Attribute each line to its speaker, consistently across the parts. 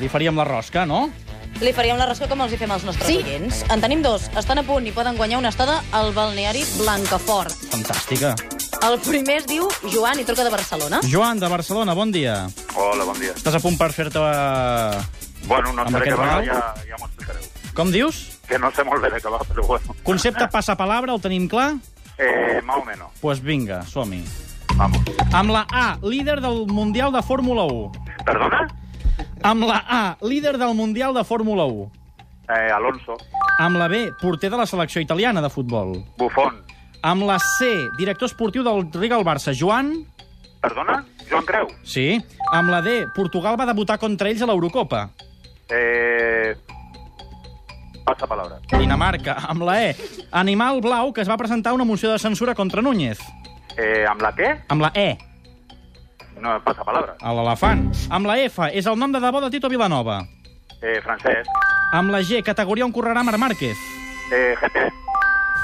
Speaker 1: Li faríem la rosca, no?
Speaker 2: Li faríem la rosca com els hi fem als nostres
Speaker 3: Sí.
Speaker 2: oients. En tenim dos. Estan a punt i poden guanyar una estada al balneari Blancafort.
Speaker 1: Fantàstica.
Speaker 2: El primer es diu Joan i truca de Barcelona.
Speaker 1: Joan, de Barcelona, bon dia.
Speaker 4: Hola, bon dia.
Speaker 1: Estàs a punt per fer-te...
Speaker 4: Bueno, no
Speaker 1: Amb
Speaker 4: sé de
Speaker 1: aquest
Speaker 4: què va,
Speaker 1: regal?
Speaker 4: ja, ja m'ho explicareu.
Speaker 1: Com dius?
Speaker 4: Que no sé molt bé de què va, però bueno.
Speaker 1: Concepte passapalabra, el tenim clar? Doncs
Speaker 4: Eh, más o menos.
Speaker 1: pues vinga, som-hi.
Speaker 4: Vamos.
Speaker 1: Amb la A, líder del Mundial de Fórmula 1.
Speaker 4: ¿Perdona?
Speaker 1: Amb la A, líder del Mundial de Fórmula 1.
Speaker 4: Eh, Alonso.
Speaker 1: Amb la B, porter de la selecció italiana de futbol.
Speaker 4: Bufón.
Speaker 1: Amb la C, director esportiu del Riga al Barça, Joan.
Speaker 4: ¿Perdona? Joan Creu.
Speaker 1: Sí. Amb la D, Portugal va debutar contra ells a l'Eurocopa.
Speaker 4: Eh, pasa palabra.
Speaker 1: Dinamarca. Amb la E, animal blau que es va presentar una moció de censura contra Núñez.
Speaker 4: Eh, ¿Amb la qué?
Speaker 1: Amb la E,
Speaker 4: No, pasa palabra.
Speaker 1: a l'elefant. Amb la F, és el nom de debò de Tito Vilanova.
Speaker 4: Eh, francés.
Speaker 1: Amb la G, categoria on correrà Marc Márquez.
Speaker 4: Eh, GT.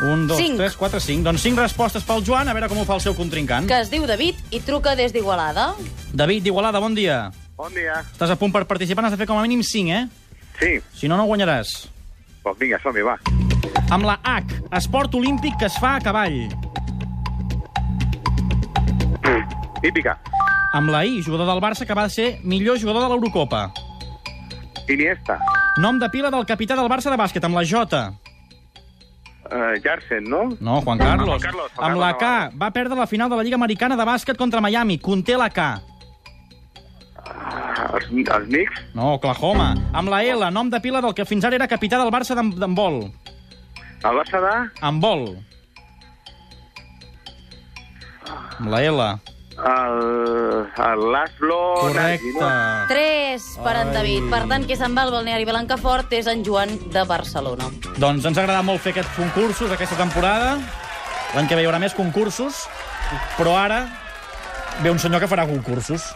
Speaker 1: Un, dos,
Speaker 2: Cinc.
Speaker 1: tres, quatre, cinc. Doncs cinc respostes pel Joan, a veure com ho fa el seu contrincant.
Speaker 2: Que es diu David i truca des d'Igualada.
Speaker 1: David d'Igualada, bon dia.
Speaker 4: Bon dia.
Speaker 1: Estàs a punt per participar, n'has de fer com a mínim cinc, eh?
Speaker 4: Sí,
Speaker 1: Si no, no guanyaràs.
Speaker 4: pues vinga, som va.
Speaker 1: Amb la H, esport olímpic que es fa a cavall.
Speaker 4: Hípica.
Speaker 1: Amb la I, jugador del Barça que va ser millor jugador de l'Eurocopa.
Speaker 4: Iniesta.
Speaker 1: Nom de pila del capità del Barça de bàsquet, amb la J.
Speaker 4: Eh, Jarsen, no?
Speaker 1: No, Juan Carlos.
Speaker 4: Juan Carlos, Juan
Speaker 1: amb la
Speaker 4: Carlos
Speaker 1: K,
Speaker 4: Navarro.
Speaker 1: va perdre la final de la Lliga Americana de bàsquet contra Miami. Conté la K.
Speaker 4: Els, els Knicks.
Speaker 1: No, Oklahoma. Amb la L, nom de pila del que fins ara era capità del Barça d'en- d'handbol.
Speaker 4: El Barça de...
Speaker 1: Handbol. Amb la L.
Speaker 4: El, el Laszlo... Nagy,
Speaker 1: Correcte.
Speaker 4: no?
Speaker 2: 3 per en
Speaker 1: Ai.
Speaker 2: David. Per tant, qui se'n va al balneari Blancafort és en Joan de Barcelona.
Speaker 1: Doncs ens ha agradat molt fer aquests concursos aquesta temporada. L'any que ve hi haurà més concursos, però ara ve un senyor que farà concursos.